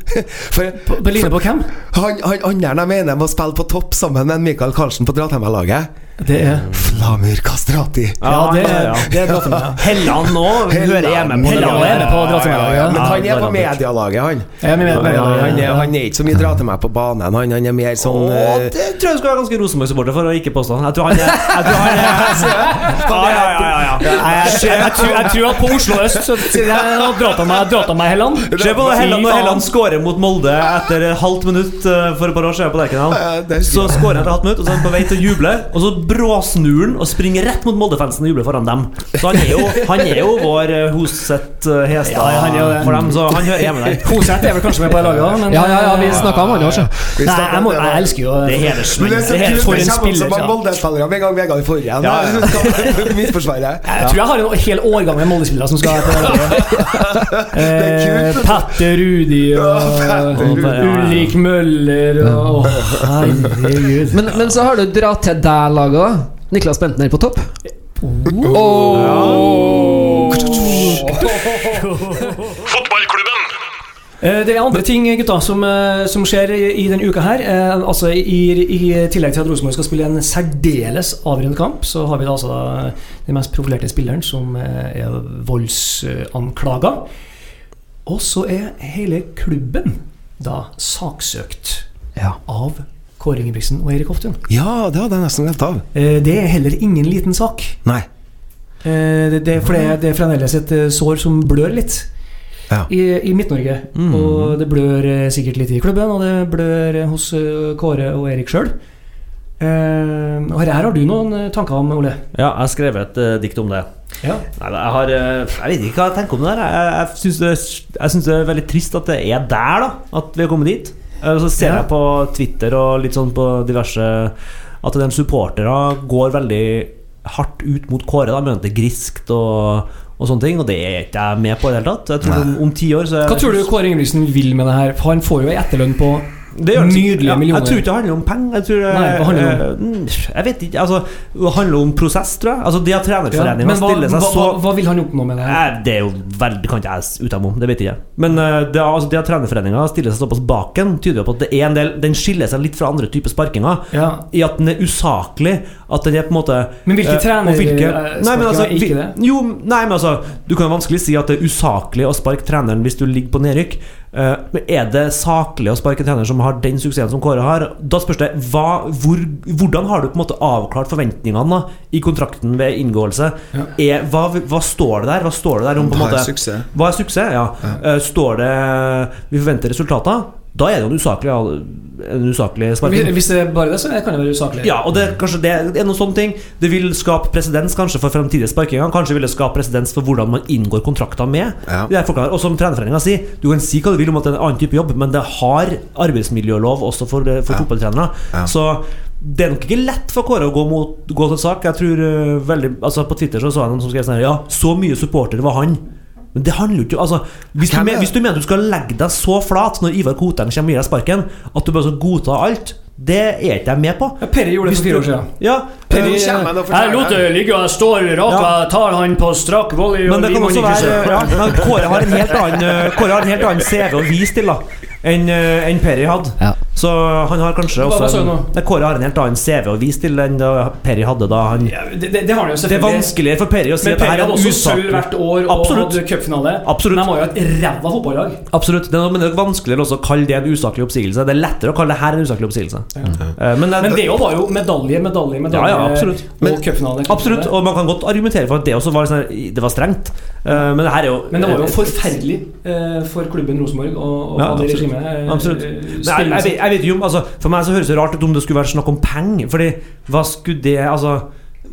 Speaker 5: For,
Speaker 4: Det ligner på hvem?
Speaker 5: han, han andre jeg mener må spille på topp sammen med Michael Karlsen på Drathemmelaget.
Speaker 4: Det er
Speaker 5: Flamur Kastrati.
Speaker 4: Ja, det er, det er dra til meg. Helland nå hører hjemme på Helland er med på dra til
Speaker 5: Ja, men
Speaker 4: meg-laget.
Speaker 5: han er på medialaget, han.
Speaker 4: Ja, men jeg mener-
Speaker 5: Han er, han er ikke så mye dra til meg på banen, han, han er mer sånn
Speaker 2: Å,
Speaker 5: eh,
Speaker 2: det tror jeg du skal være ganske Rosenborg-supporter for å ikke påstå. Jeg tror han er Jeg tror han er Ja, ja, ja, ja, ja.
Speaker 4: Nei, Jeg, jeg, jeg, tror- jeg tror at på Oslo øst så sier jeg «Nå dra til meg, dra til meg, Helland.
Speaker 2: Se på det, Helland,
Speaker 4: Fy
Speaker 2: når
Speaker 4: faen.
Speaker 2: Helland skårer mot Molde etter et halvt minutt eh, for et par år siden på
Speaker 5: Ja, ja,
Speaker 2: Lerkendal.
Speaker 5: det husker
Speaker 2: Så
Speaker 5: jeg.
Speaker 2: skårer han etter halvt minutt, og så er han på vei til å juble. Og så bråsnur han og springer rett mot Molde-fansen og jubler foran dem. Så han er jo, han er jo vår eh, Hoseth eh, Hestad
Speaker 4: Ja, ja, han er jo det.
Speaker 2: for dem, så han hører hjemme der.
Speaker 4: Koseth er vel kanskje med på det laget òg, men
Speaker 3: Ja, ja, ja, vi snakka om han også.
Speaker 5: Vi
Speaker 4: Nei,
Speaker 5: snakker
Speaker 4: jeg,
Speaker 5: om
Speaker 4: må,
Speaker 5: det, da.
Speaker 4: jeg elsker jo
Speaker 2: Det er
Speaker 5: Men
Speaker 2: hedersmenn.
Speaker 5: det er så
Speaker 2: Det er helt
Speaker 5: kult,
Speaker 4: Eh, for
Speaker 5: det
Speaker 4: en
Speaker 5: kommer
Speaker 4: spiller,
Speaker 5: så mange
Speaker 4: ja.
Speaker 5: Molde-spillere med en gang Vegard Forhen.
Speaker 2: Ja, ja.
Speaker 5: Midtforsvaret.
Speaker 4: Jeg tror jeg har en hel årgang med Molde-spillere som skal være på det laget.
Speaker 5: er
Speaker 4: Eh,
Speaker 5: kult. altså.
Speaker 4: Petter Rudi og
Speaker 5: Petter
Speaker 2: Rudi.
Speaker 4: Ulrik Møller og Åh, Herregud.
Speaker 3: Men, men så har du dra til deg-laget òg. Niklas Bentner på topp.
Speaker 4: Eh, Det er andre ting gutta, som, eh, som skjer i i denne uka. her Eh, Altså I, i tillegg til at Rosenborg skal spille en særdeles avgjørende kamp, så har vi da altså da den mest profilerte spilleren som eh, er voldsanklaga. Og så er hele klubben da saksøkt av Kåre Ingebrigtsen og Erik Hoftun.
Speaker 5: Ja, det hadde jeg nesten glemt av.
Speaker 4: Eh, Det er heller ingen liten sak.
Speaker 5: Nei.
Speaker 4: Eh, Det, det, er for det, det er fremdeles et eh, sår som blør litt
Speaker 5: Ja.
Speaker 4: i, i Midt-Norge. Og det blør eh, sikkert litt i klubben, og det blør eh, hos eh, Kåre og Erik sjøl. og her har du noen eh, tanker om, Ole.
Speaker 2: Ja, jeg har skrevet et eh, dikt om det.
Speaker 4: Ja.
Speaker 2: Nei, jeg har eh, Jeg vet ikke hva jeg tenker om det der. Jeg, jeg, syns det, jeg syns det er veldig trist at det er der, da. At vi har kommet dit. Eh, Så ser
Speaker 4: Ja.
Speaker 2: jeg på Twitter og litt sånn på diverse At de supportere går veldig hardt ut mot Kåre. Da, mener at det er griskt og, og sånne ting. Og det er ikke jeg med på i det hele tatt. Jeg tror om, om ti år så er-
Speaker 4: Hva tror du Kåre Ingebrigtsen vil med det her? For han får jo ei etterlønn på
Speaker 2: det gjør det sikkert.
Speaker 4: nydelige millioner.
Speaker 2: Jeg tror ikke det handler om penger. Jeg tror det,
Speaker 4: Nei, hva handler det
Speaker 2: eh, Jeg vet ikke. Altså, det handler om prosess, tror jeg. Altså, det at
Speaker 4: ja. Men
Speaker 2: trenerforeninga
Speaker 4: hva,
Speaker 2: stiller
Speaker 4: hva,
Speaker 2: seg
Speaker 4: hva,
Speaker 2: så Eh,
Speaker 4: hva vil han oppnå med det her?
Speaker 2: Nei, Det er jo veldig kan ikke jeg uttale meg om, det vet jeg ikke. Men eh, det, er- altså, det at trenerforeninga stiller seg såpass baken, tyder jo på at det er en del Den skiller seg litt fra andre typer sparkinger.
Speaker 4: Ja.
Speaker 2: I at den er usaklig. At den er på en måte
Speaker 4: Men hvilke
Speaker 2: eh, og
Speaker 4: trener-
Speaker 2: hvilke-
Speaker 4: eh,
Speaker 2: Nei, men
Speaker 4: sparkinger
Speaker 2: altså,
Speaker 4: er ikke
Speaker 2: vi-
Speaker 4: det?
Speaker 2: Jo, nei, men altså Du kan vanskelig si at det er usaklig å sparke treneren hvis du ligger på nedrykk. Eh, Men er det saklig å sparke en trener som har den suksessen som Kåre har? Da spørs det hva, hvor, hvordan har du på en måte avklart forventningene da, i kontrakten ved inngåelse? Er, hva, hva står det der? Hva står det der om på en
Speaker 10: Hva er
Speaker 2: måte
Speaker 10: suksess?
Speaker 2: Hva er suksess? Ja. Eh, Står det Vi forventer resultater? Da er det jo en usaklig en usaklig
Speaker 4: Hvis
Speaker 2: sparking.
Speaker 4: hvis det er bare det, så kan det være usaklig.
Speaker 2: Ja, og det, kanskje det er noen sånne ting. Det vil skape presedens kanskje for fremtidige sparkinger. Kanskje vil det skape presedens for hvordan man inngår kontrakter med.
Speaker 5: Ja.
Speaker 2: Det er folkene her. Og som trenerforeninga sier, du kan si hva du vil om at det er en annen type jobb, men det har arbeidsmiljølov også for, eh, for fotballtrenere. Så det er nok ikke lett for Kåre å gå, mot, gå til sak. Jeg tror eh, veldig Altså På Twitter så så jeg noen som skrev sånn her Ja, så mye supporter var han. Men det handler jo ikke altså, hvis, du
Speaker 5: Hvem er
Speaker 2: mener,
Speaker 5: det?
Speaker 2: hvis du mener du skal legge deg så flat når Ivar Koteng kommer og gir deg sparken, at du bare skal godta alt, det er ikke jeg med på.
Speaker 4: Ja, Perry gjorde det
Speaker 2: Hvis
Speaker 4: for fire
Speaker 2: du-
Speaker 4: år siden.
Speaker 2: Ja, eh,
Speaker 4: Perry,
Speaker 5: Nå kommer han og forteller.
Speaker 4: jeg lot det ligge, og jeg står rak,
Speaker 2: Ja.
Speaker 4: og jeg tar han på strak volley.
Speaker 2: men
Speaker 4: og
Speaker 2: det
Speaker 4: de
Speaker 2: kan
Speaker 4: må
Speaker 2: også
Speaker 4: ikke se.
Speaker 2: være ja, men Kåre har en helt annen eh, Kåre har en helt annen CV å vise til da enn eh, enn Perry hadde.
Speaker 3: Ja.
Speaker 2: Så han har kanskje
Speaker 4: Hva- hva
Speaker 2: også
Speaker 4: sa du
Speaker 2: en,
Speaker 4: nå?
Speaker 2: Nei, Kåre har en helt annen CV å vise til enn da Perry hadde da han
Speaker 4: Ja, det, det, det har han jo
Speaker 2: Det er
Speaker 4: selvfølgelig.
Speaker 2: vanskeligere for Perry å si
Speaker 4: Men
Speaker 2: at det
Speaker 4: Perry
Speaker 2: her er
Speaker 4: hadde
Speaker 2: en
Speaker 4: også sølv hvert
Speaker 2: usaklig
Speaker 4: år og
Speaker 2: Absolutt.
Speaker 4: hadde cupfinale.
Speaker 2: Absolutt.
Speaker 4: Men De var jo et ræva fotballag.
Speaker 2: Absolutt. Det er, men det er vanskeligere også å kalle det en usaklig oppsigelse. Det er lettere å kalle det her en usaklig oppsigelse. Eh, Men, det-
Speaker 4: Men det jo var jo medalje, medalje, medalje.
Speaker 2: Ja, ja, absolutt.
Speaker 4: og cupfinale.
Speaker 2: Absolutt, og man kan godt argumentere for at det også var, sånn, her- det var strengt. Eh, Men det her er jo
Speaker 4: Men det var jo forferdelig eh, for klubben Rosenborg og, og
Speaker 2: Ja,
Speaker 4: det
Speaker 2: absolutt.
Speaker 4: regimet. eh,
Speaker 2: Absolutt.
Speaker 4: eh,
Speaker 2: Men jeg, jeg, vet- jeg vet jo om altså, For meg så høres det rart ut om det skulle være snakk om penger. Fordi hva skulle det Altså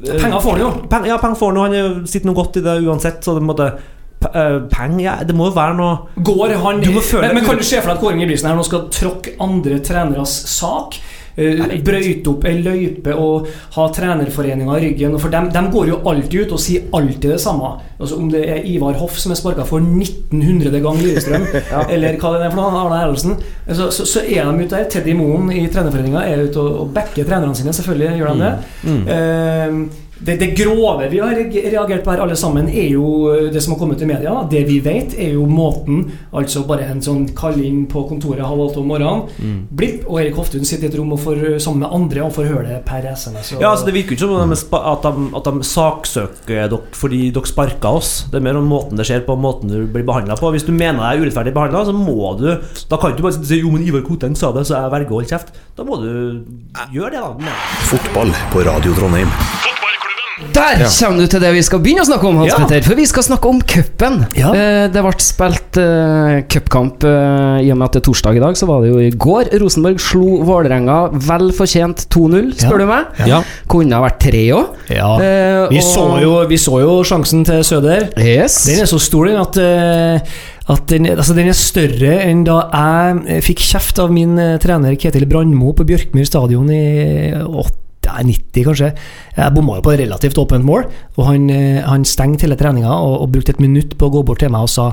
Speaker 2: eh,
Speaker 4: Penger får han jo.
Speaker 2: peng, Ja, penger får han jo, han er jo- sitter nå godt i det uansett, så det måtte Penger eh, ja, Det må jo være noe
Speaker 4: Går han
Speaker 2: Du må føle-
Speaker 4: men, men kan du se for deg at Kåre Ingebrigtsen her nå skal tråkke andre treneres sak? Eh, brøyte opp ei løype og ha trenerforeninga i ryggen. og For dem, dem går jo alltid ut og sier alltid det samme. Altså Om det er Ivar Hoff som er sparka for 1900. gang Lillestrøm, eller hva det er for noe, Arne Erlendsen, så, så, så er de ute der. Teddy Moen i trenerforeninga er ute og, og backer trenerne sine, selvfølgelig gjør de det.
Speaker 2: Mm.
Speaker 4: Eh, det, det grove vi har reag- reagert på her, alle sammen, er jo eh, det som har kommet i media. Da. Det vi vet, er jo måten Altså bare en sånn kall inn på kontoret halv åtte om morgenen. Blipp, og Erik Hoftun sitter i et rom og får, eh, sammen med andre og forhører det per SMS. og-
Speaker 2: Ja, altså Det virker jo ikke som om de er spa- at, de, at de saksøker dere fordi dere sparka oss. Det er mer om måten det skjer på, måten du blir behandla på. Hvis du mener deg urettferdig behandla, så må du Da kan du ikke bare si Jo, men Ivar Koteng sa det, så jeg velger å holde kjeft. Da må du gjøre det, da. Men-
Speaker 7: Fotball på Radio Trondheim.
Speaker 3: Der kommer du til det vi skal begynne å snakke om, Hans
Speaker 2: Ja.
Speaker 3: Petter. For vi skal snakke om cupen.
Speaker 2: Ja.
Speaker 3: Eh, det ble spilt eh, cupkamp eh, i og med at det er torsdag i dag, så var det jo i går. Rosenborg slo Vålerenga vel fortjent 2-0, spør du meg. Kunne ha vært tre òg.
Speaker 4: Ja. Vi så, jo, vi så jo sjansen til Søder.
Speaker 3: Yes.
Speaker 4: Den er så stor, den, at, eh, at den, altså, den er større enn da jeg eh, fikk kjeft av min eh, trener Ketil Brandmo på Bjørkmyr stadion i eh, åt- ja, 90, kanskje. Jeg bomma jo på et relativt åpent mål, og han, eh, han stengte hele treninga og, og brukte et minutt på å gå bort til meg og sa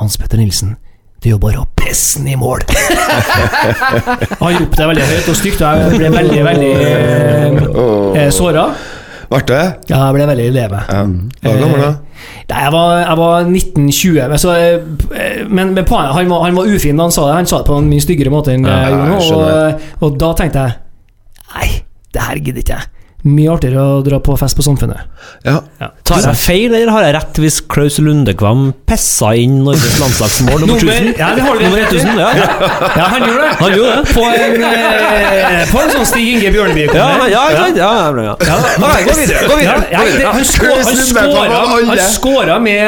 Speaker 4: Hans Petter Nilsen, det er jo bare å pisse den i mål! han ropte det veldig høyt og stygt, og jeg ble veldig, veldig eh, såra.
Speaker 5: Ble det?
Speaker 4: Ja, Eh, jeg ble veldig lei meg.
Speaker 5: Ja. Hva er gammel, da?
Speaker 4: Nei, jeg var, jeg var 1920, men, så, eh, men, men poenget, han, var, han var ufin da han sa det. Han sa det på en mye styggere måte enn jeg
Speaker 5: Ja, jeg
Speaker 4: gjorde nå. Og, og da tenkte jeg Nei, det her gidder ikke jeg. Mye artigere å dra på fest på Samfunnet.
Speaker 5: Ja.
Speaker 1: Tar jeg feil, eller har jeg rett hvis Klaus Lundekvam pessa inn Norges landslagsmål nummer 1000?
Speaker 4: ja, det har du
Speaker 1: Nummer
Speaker 4: rett i.
Speaker 1: 1000, ja, ja.
Speaker 4: Ja, han gjorde det.
Speaker 1: Han gjorde det.
Speaker 4: På en, eh, på en sånn Stig Inge
Speaker 1: Ja,
Speaker 4: Bjørneby-konsert.
Speaker 1: ja, ja, ja, ja, ja. Ok, Gå videre. gå videre,
Speaker 4: Ja,
Speaker 1: gå
Speaker 4: det-
Speaker 1: videre.
Speaker 4: han skå- han skåra- han skåra med,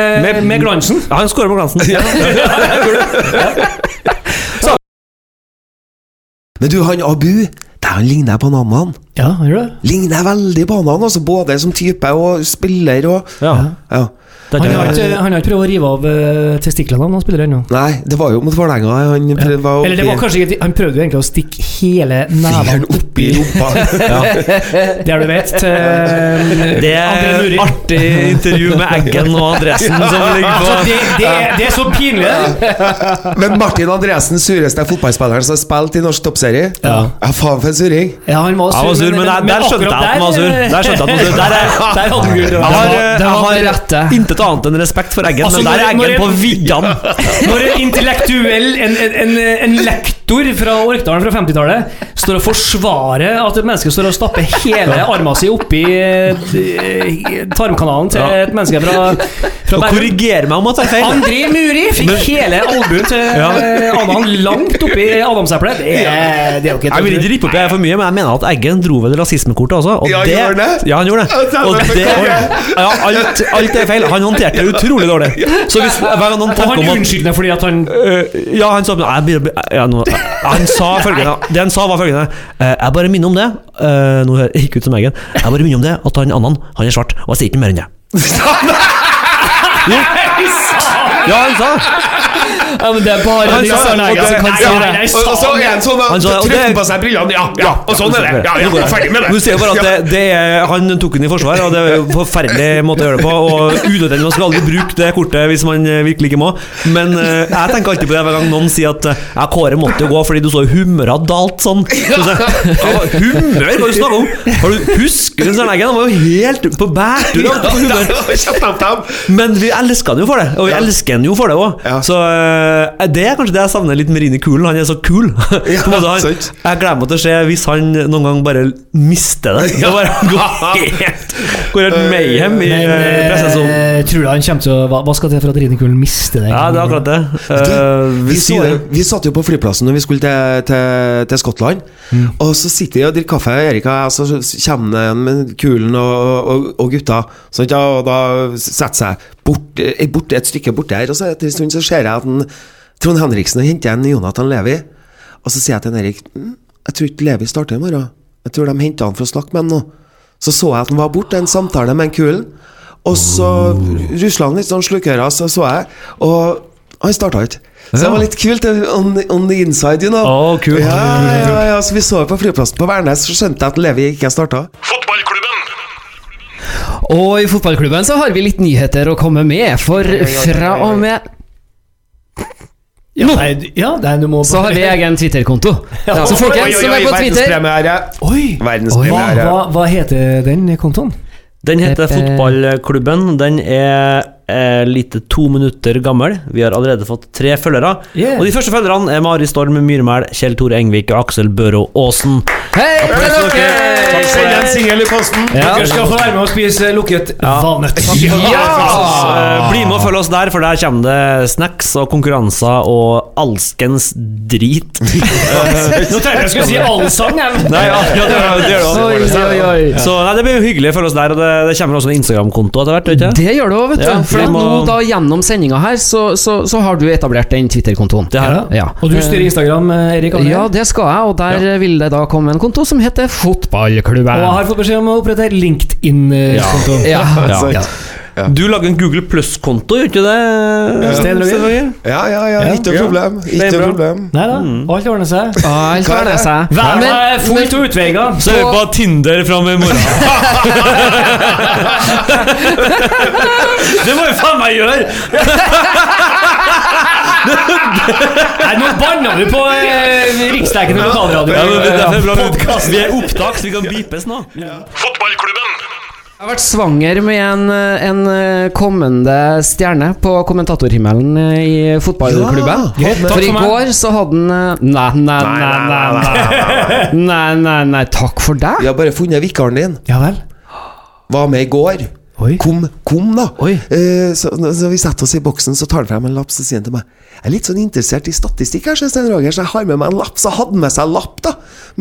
Speaker 4: med glansen.
Speaker 1: Ja, han skårer på glansen.
Speaker 5: Men du, han Abu, der ligner jeg på en annen.
Speaker 4: Ja, han gjorde det.
Speaker 5: Ligner jeg veldig på han, altså, både som type og spiller og
Speaker 1: Ja.
Speaker 5: ja.
Speaker 1: Det er
Speaker 4: Han
Speaker 1: det.
Speaker 4: har ikke, han har ikke prøvd å rive av eh, testiklene, han spiller ennå.
Speaker 5: Nei, det var jo mot Vålerenga han prøv- var
Speaker 4: Eller det var
Speaker 5: oppi
Speaker 4: kanskje ikke Han prøvde jo egentlig å stikke hele
Speaker 5: Fingeren
Speaker 4: neven
Speaker 5: oppi rumpa.
Speaker 4: der du vet til
Speaker 1: Det
Speaker 4: André
Speaker 1: er
Speaker 4: Muri.
Speaker 1: artig intervju med Eggen og Andresen som ligger på
Speaker 4: Altså, det, det, det er så pinlig!
Speaker 5: Men Martin Andresen, sureste fotballspilleren som har spilt i norsk toppserie.
Speaker 4: Ja.
Speaker 5: faen for en suring.
Speaker 4: Ja, han var
Speaker 1: Jeg var sur, men der, der skjønte jeg at han var sur. Der skjønte jeg at han var sur. Der, er- der hadde han gul. Jeg har, eh,
Speaker 3: det
Speaker 1: jeg
Speaker 3: var
Speaker 1: har
Speaker 3: det rette.
Speaker 1: intet annet enn respekt for Eggen,
Speaker 4: Altså,
Speaker 1: men der
Speaker 4: når-
Speaker 1: er
Speaker 4: når
Speaker 1: Eggen
Speaker 4: jeg-
Speaker 1: på viddene.
Speaker 4: Når en intellektuell, en, en, en, en lektor fra Orkdalen fra 50-tallet, står og forsvarer at et menneske står og stapper hele armen sin oppi eh, tarmkanalen til et menneske fra, fra
Speaker 1: Og
Speaker 4: Bærum
Speaker 1: korriger meg om at jeg er feil.
Speaker 4: André Muri fikk hele albuen til ja. Adam langt oppi adamseplet. Det, er- det er jo ikke
Speaker 1: Jeg vil ikke rippe opp i det for mye, men jeg mener at Eggen dro vel rasismekortet også. Og
Speaker 5: Ja,
Speaker 1: det,
Speaker 5: gjorde han det?
Speaker 1: Ja, han gjorde det. Og det ja, alt, alt er feil. Han håndterte det utrolig dårlig. Så hvis hver gang noen
Speaker 4: Og
Speaker 1: tenker
Speaker 4: han
Speaker 1: om at
Speaker 4: unnskyldte fordi at han
Speaker 2: Eh,
Speaker 1: Øh, ja, han sa men jeg, blir- jeg, ja, nå, jeg,
Speaker 2: Han sa følgende Det han sa, var følgende eh, Jeg bare minner om det eh, Nå hører- gikk ut som egen. Jeg bare minner om det at han annen han er svart, og jeg sier ikke mer enn det. Jo. Ja, han sa
Speaker 4: Ja, men det er bare
Speaker 2: Han
Speaker 4: de
Speaker 2: sa- sånn
Speaker 4: sarnegene som kan si det.
Speaker 5: Og, og så er han sånn
Speaker 2: Han
Speaker 5: at
Speaker 2: sa- og
Speaker 5: trykker
Speaker 2: det-
Speaker 5: på seg brillene. Ja, ja, og sånn er det. Ja, ja, jeg er ferdig med det.
Speaker 2: Du ser jo bare at det, det er, han tok den i forsvar, og det er jo en forferdelig måte å gjøre det på. Og unødvendig, man skal aldri bruke det kortet hvis man eh, virkelig ikke må. Men eh, jeg tenker alltid på det hver gang noen sier at eh, ja, Kåre måtte jo gå fordi du så humøret dalt sånn. Så sier jeg, «Ja, humør, hva er det du snakker om? Har du, husker du den leggen? Han var jo helt på bærtur. Han, på humør.
Speaker 5: Ja, kjempetemp.
Speaker 2: Men vi elsker han jo for det, og vi elsker han jo for det òg.
Speaker 5: Ja.
Speaker 2: Så eh, det er kanskje det jeg savner litt med Rini Kulen. Han er så kul. På en måte, han,
Speaker 5: sant.
Speaker 2: jeg gleder meg til å se hvis han noen gang bare mister det. Ja. Bare går helt, går helt mayhem i
Speaker 4: Men
Speaker 2: eh, pressesonen.
Speaker 4: eh, tror du han kommer til å Hva, hva skal til for at Rinekulen mister det?
Speaker 2: Ja, det er akkurat det. Eh,
Speaker 5: Du,
Speaker 2: vi
Speaker 5: vi, så,
Speaker 2: sier det.
Speaker 5: jo- vi satt jo på flyplassen når vi skulle til, til, til Skottland.
Speaker 2: Mm.
Speaker 5: Og så sitter vi og drikker kaffe, Erik og jeg, og så kommer han med kulen og, og, og gutta. sant, ja, og da setter seg bort, eh, bort, et stykke borte her, og så etter en stund så ser jeg at han, Trond Henriksen henter en Jonathan Levi. Og så sier jeg til han Erik «Mm, Jeg tror ikke Levi starter i morgen. Jeg tror de henter han for å snakke med han nå. Så så jeg at han var borte, en samtale med en kulen. Og så
Speaker 2: Oh.
Speaker 5: rusla han litt sånn slukøra, så så jeg, og han starta ikke. Så det var litt kult. eh, On, on the inside, you know.
Speaker 2: Å, kult.
Speaker 5: Ja, ja, ja, så Vi så på flyplassen på Værnes, så skjønte jeg at Levi ikke starta.
Speaker 3: Og i fotballklubben så har vi litt nyheter å komme med, for fra og med
Speaker 4: Ja, nei, du- ja, nei, du må
Speaker 3: så har vi egen Twitter-konto. Så folkens som er på Twitter
Speaker 4: Oi! Hva,
Speaker 5: Verdenspremiere.
Speaker 4: hva, hva heter den kontoen?
Speaker 2: Den heter
Speaker 3: Pepe.
Speaker 2: Fotballklubben. Den er eh, lite to minutter gammel. Vi har allerede fått tre følgere.
Speaker 4: Yeah.
Speaker 2: Og de første følgerne er Mari Storm Myrmæl, Kjell Tore Engvik og Aksel Børå Aasen.
Speaker 3: Hei til
Speaker 2: Takk for
Speaker 3: dere!
Speaker 2: det.
Speaker 5: singel i posten.
Speaker 3: Ja.
Speaker 4: Dere skal få være med og spise lukket valnøtt.
Speaker 2: Så, eh, Bli med og følg oss der, for der kommer det snacks og konkurranser og alskens drit.
Speaker 4: Nå tenkte jeg jeg skulle si allsang, jeg.
Speaker 2: Nei, ja, ja, det, det gjør det også.
Speaker 3: Oi, oi, oi.
Speaker 2: Så nei, Det blir hyggelig å følge oss der, og det, det kommer også en Instagram-konto etter hvert. vet du ikke?
Speaker 3: Det gjør du òg, vet du.
Speaker 2: Ja,
Speaker 3: For
Speaker 2: vi
Speaker 3: at
Speaker 2: må-
Speaker 3: nå da gjennom sendinga her, så, så, så har du etablert den Twitter-kontoen.
Speaker 2: Det her,
Speaker 3: Ja.
Speaker 4: Og du styrer Instagram, eh, Erik? har du det?
Speaker 3: Ja, det skal jeg, og der eh, vil det da komme en konto som heter
Speaker 4: Og jeg
Speaker 3: Fotballklubben.
Speaker 4: har fått beskjed om å opprette LinkedIn-konto.
Speaker 3: Ja,
Speaker 2: ja.
Speaker 3: ja.
Speaker 2: Du lager en Google Pluss-konto, gjør ikke det? Sten Roger?
Speaker 5: Ja, ja, ja. Ikke noe problem. Ikke
Speaker 2: Det er
Speaker 5: noe
Speaker 2: bra.
Speaker 5: problem.
Speaker 4: Nei da, alt ordner seg.
Speaker 3: Alt
Speaker 5: Hva er
Speaker 3: ordner
Speaker 5: det?
Speaker 3: seg.
Speaker 4: Verden
Speaker 3: Men-
Speaker 4: Mm. er fullt av utveier.
Speaker 2: Så er vi på Tinder fram i morgen. det må jo faen meg gjøre!
Speaker 4: Nei, nå banna du på eh, riksdekkende lokalradio.
Speaker 2: Ja, men det er derfor det er bra. Vi er opptak, så vi kan beepes nå.
Speaker 3: Jeg har vært svanger med en, en eh, kommende stjerne på kommentatorhimmelen eh, i fotballklubben.
Speaker 4: Ja, greit,
Speaker 3: for
Speaker 4: takk
Speaker 3: i
Speaker 4: for meg.
Speaker 3: går så hadde han eh, Nei, nei, nei, nei, nei, nei, nei, nei. Takk for
Speaker 5: Vi
Speaker 3: deg.
Speaker 5: har bare funnet vikaren din.
Speaker 4: Ja vel.
Speaker 5: Var med i går.
Speaker 4: Oi.
Speaker 5: Kom, kom, da.
Speaker 4: Oi.
Speaker 5: Eh, så når vi setter oss i boksen, så tar han frem en lapp så sier han til meg Jeg er litt sånn interessert i statistikk, her, sier Stein Roger, så jeg har med meg en lapp. Så hadde han med seg en lapp, da.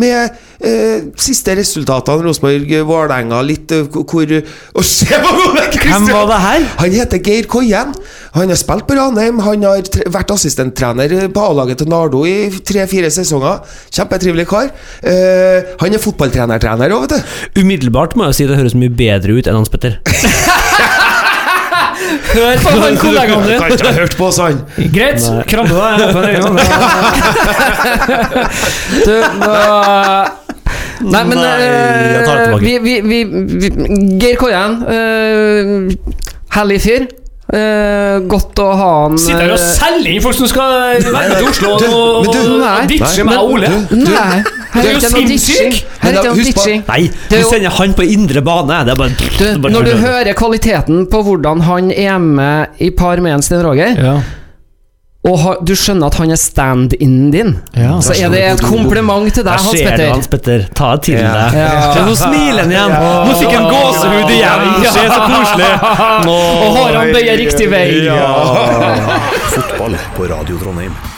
Speaker 5: Med eh, siste resultatene. Rosenborg, eh, Vålerenga, litt eh, hvor- hvor Å, se på Ole Kristian!
Speaker 2: Hvem var det her?
Speaker 5: Han heter Geir Koien. Han har spilt på Ranheim. Han har tre vært assistenttrener på A-laget til Nardo i tre-fire sesonger. Kjempetrivelig kar. Eh, han er fotballtrenertrener òg, vet du.
Speaker 2: Umiddelbart må jeg jo si det høres mye bedre ut enn Hans Petter.
Speaker 4: Hør på han kollegaen din.
Speaker 5: Kan ikke ha hørt på oss, han.
Speaker 4: Greit, krampe deg. Jeg håper det er en gang.
Speaker 3: Du, nå- Nei, men
Speaker 2: Nei, jeg tar det
Speaker 3: eh,
Speaker 2: tilbake.
Speaker 3: vi, vi, vi, vi Geir Koien. Uh, Herlig fyr. Eh, godt å ha han
Speaker 4: Sitter her og
Speaker 3: eh,
Speaker 4: selger inn folk som skal være med til Oslo og,
Speaker 5: Du, men
Speaker 4: og,
Speaker 5: du-
Speaker 3: Nei.
Speaker 4: og ditche meg og Ole.
Speaker 3: Nei, her
Speaker 4: Du er
Speaker 3: er ikke
Speaker 4: jo
Speaker 3: noe
Speaker 4: sinnssyk.
Speaker 3: ditching. Her er
Speaker 5: Men da,
Speaker 3: ikke noe
Speaker 5: husk på-
Speaker 3: ditching.
Speaker 2: Nei,
Speaker 3: Det
Speaker 2: du
Speaker 3: er jo-
Speaker 2: sender han på indre bane. Det er bare,
Speaker 3: Du,
Speaker 2: det er bare
Speaker 3: når du hører kvaliteten på hvordan han er med i par med en Sten Roger,
Speaker 4: Ja.
Speaker 3: og ha, du skjønner at han er stand-in din,
Speaker 4: Ja.
Speaker 3: så er det et kompliment til deg,
Speaker 2: Der
Speaker 3: Hans
Speaker 2: ser du,
Speaker 3: Petter.
Speaker 2: Hans Petter. Ta det til deg.
Speaker 3: Ja.
Speaker 2: Se, nå smiler han igjen. Nå fikk han gåsehud igjen.
Speaker 4: Ja.
Speaker 2: Se, så koselig. Nå.
Speaker 4: Og har han bøyer riktig vei.
Speaker 2: Ja.
Speaker 7: Fotball på Radio Trondheim.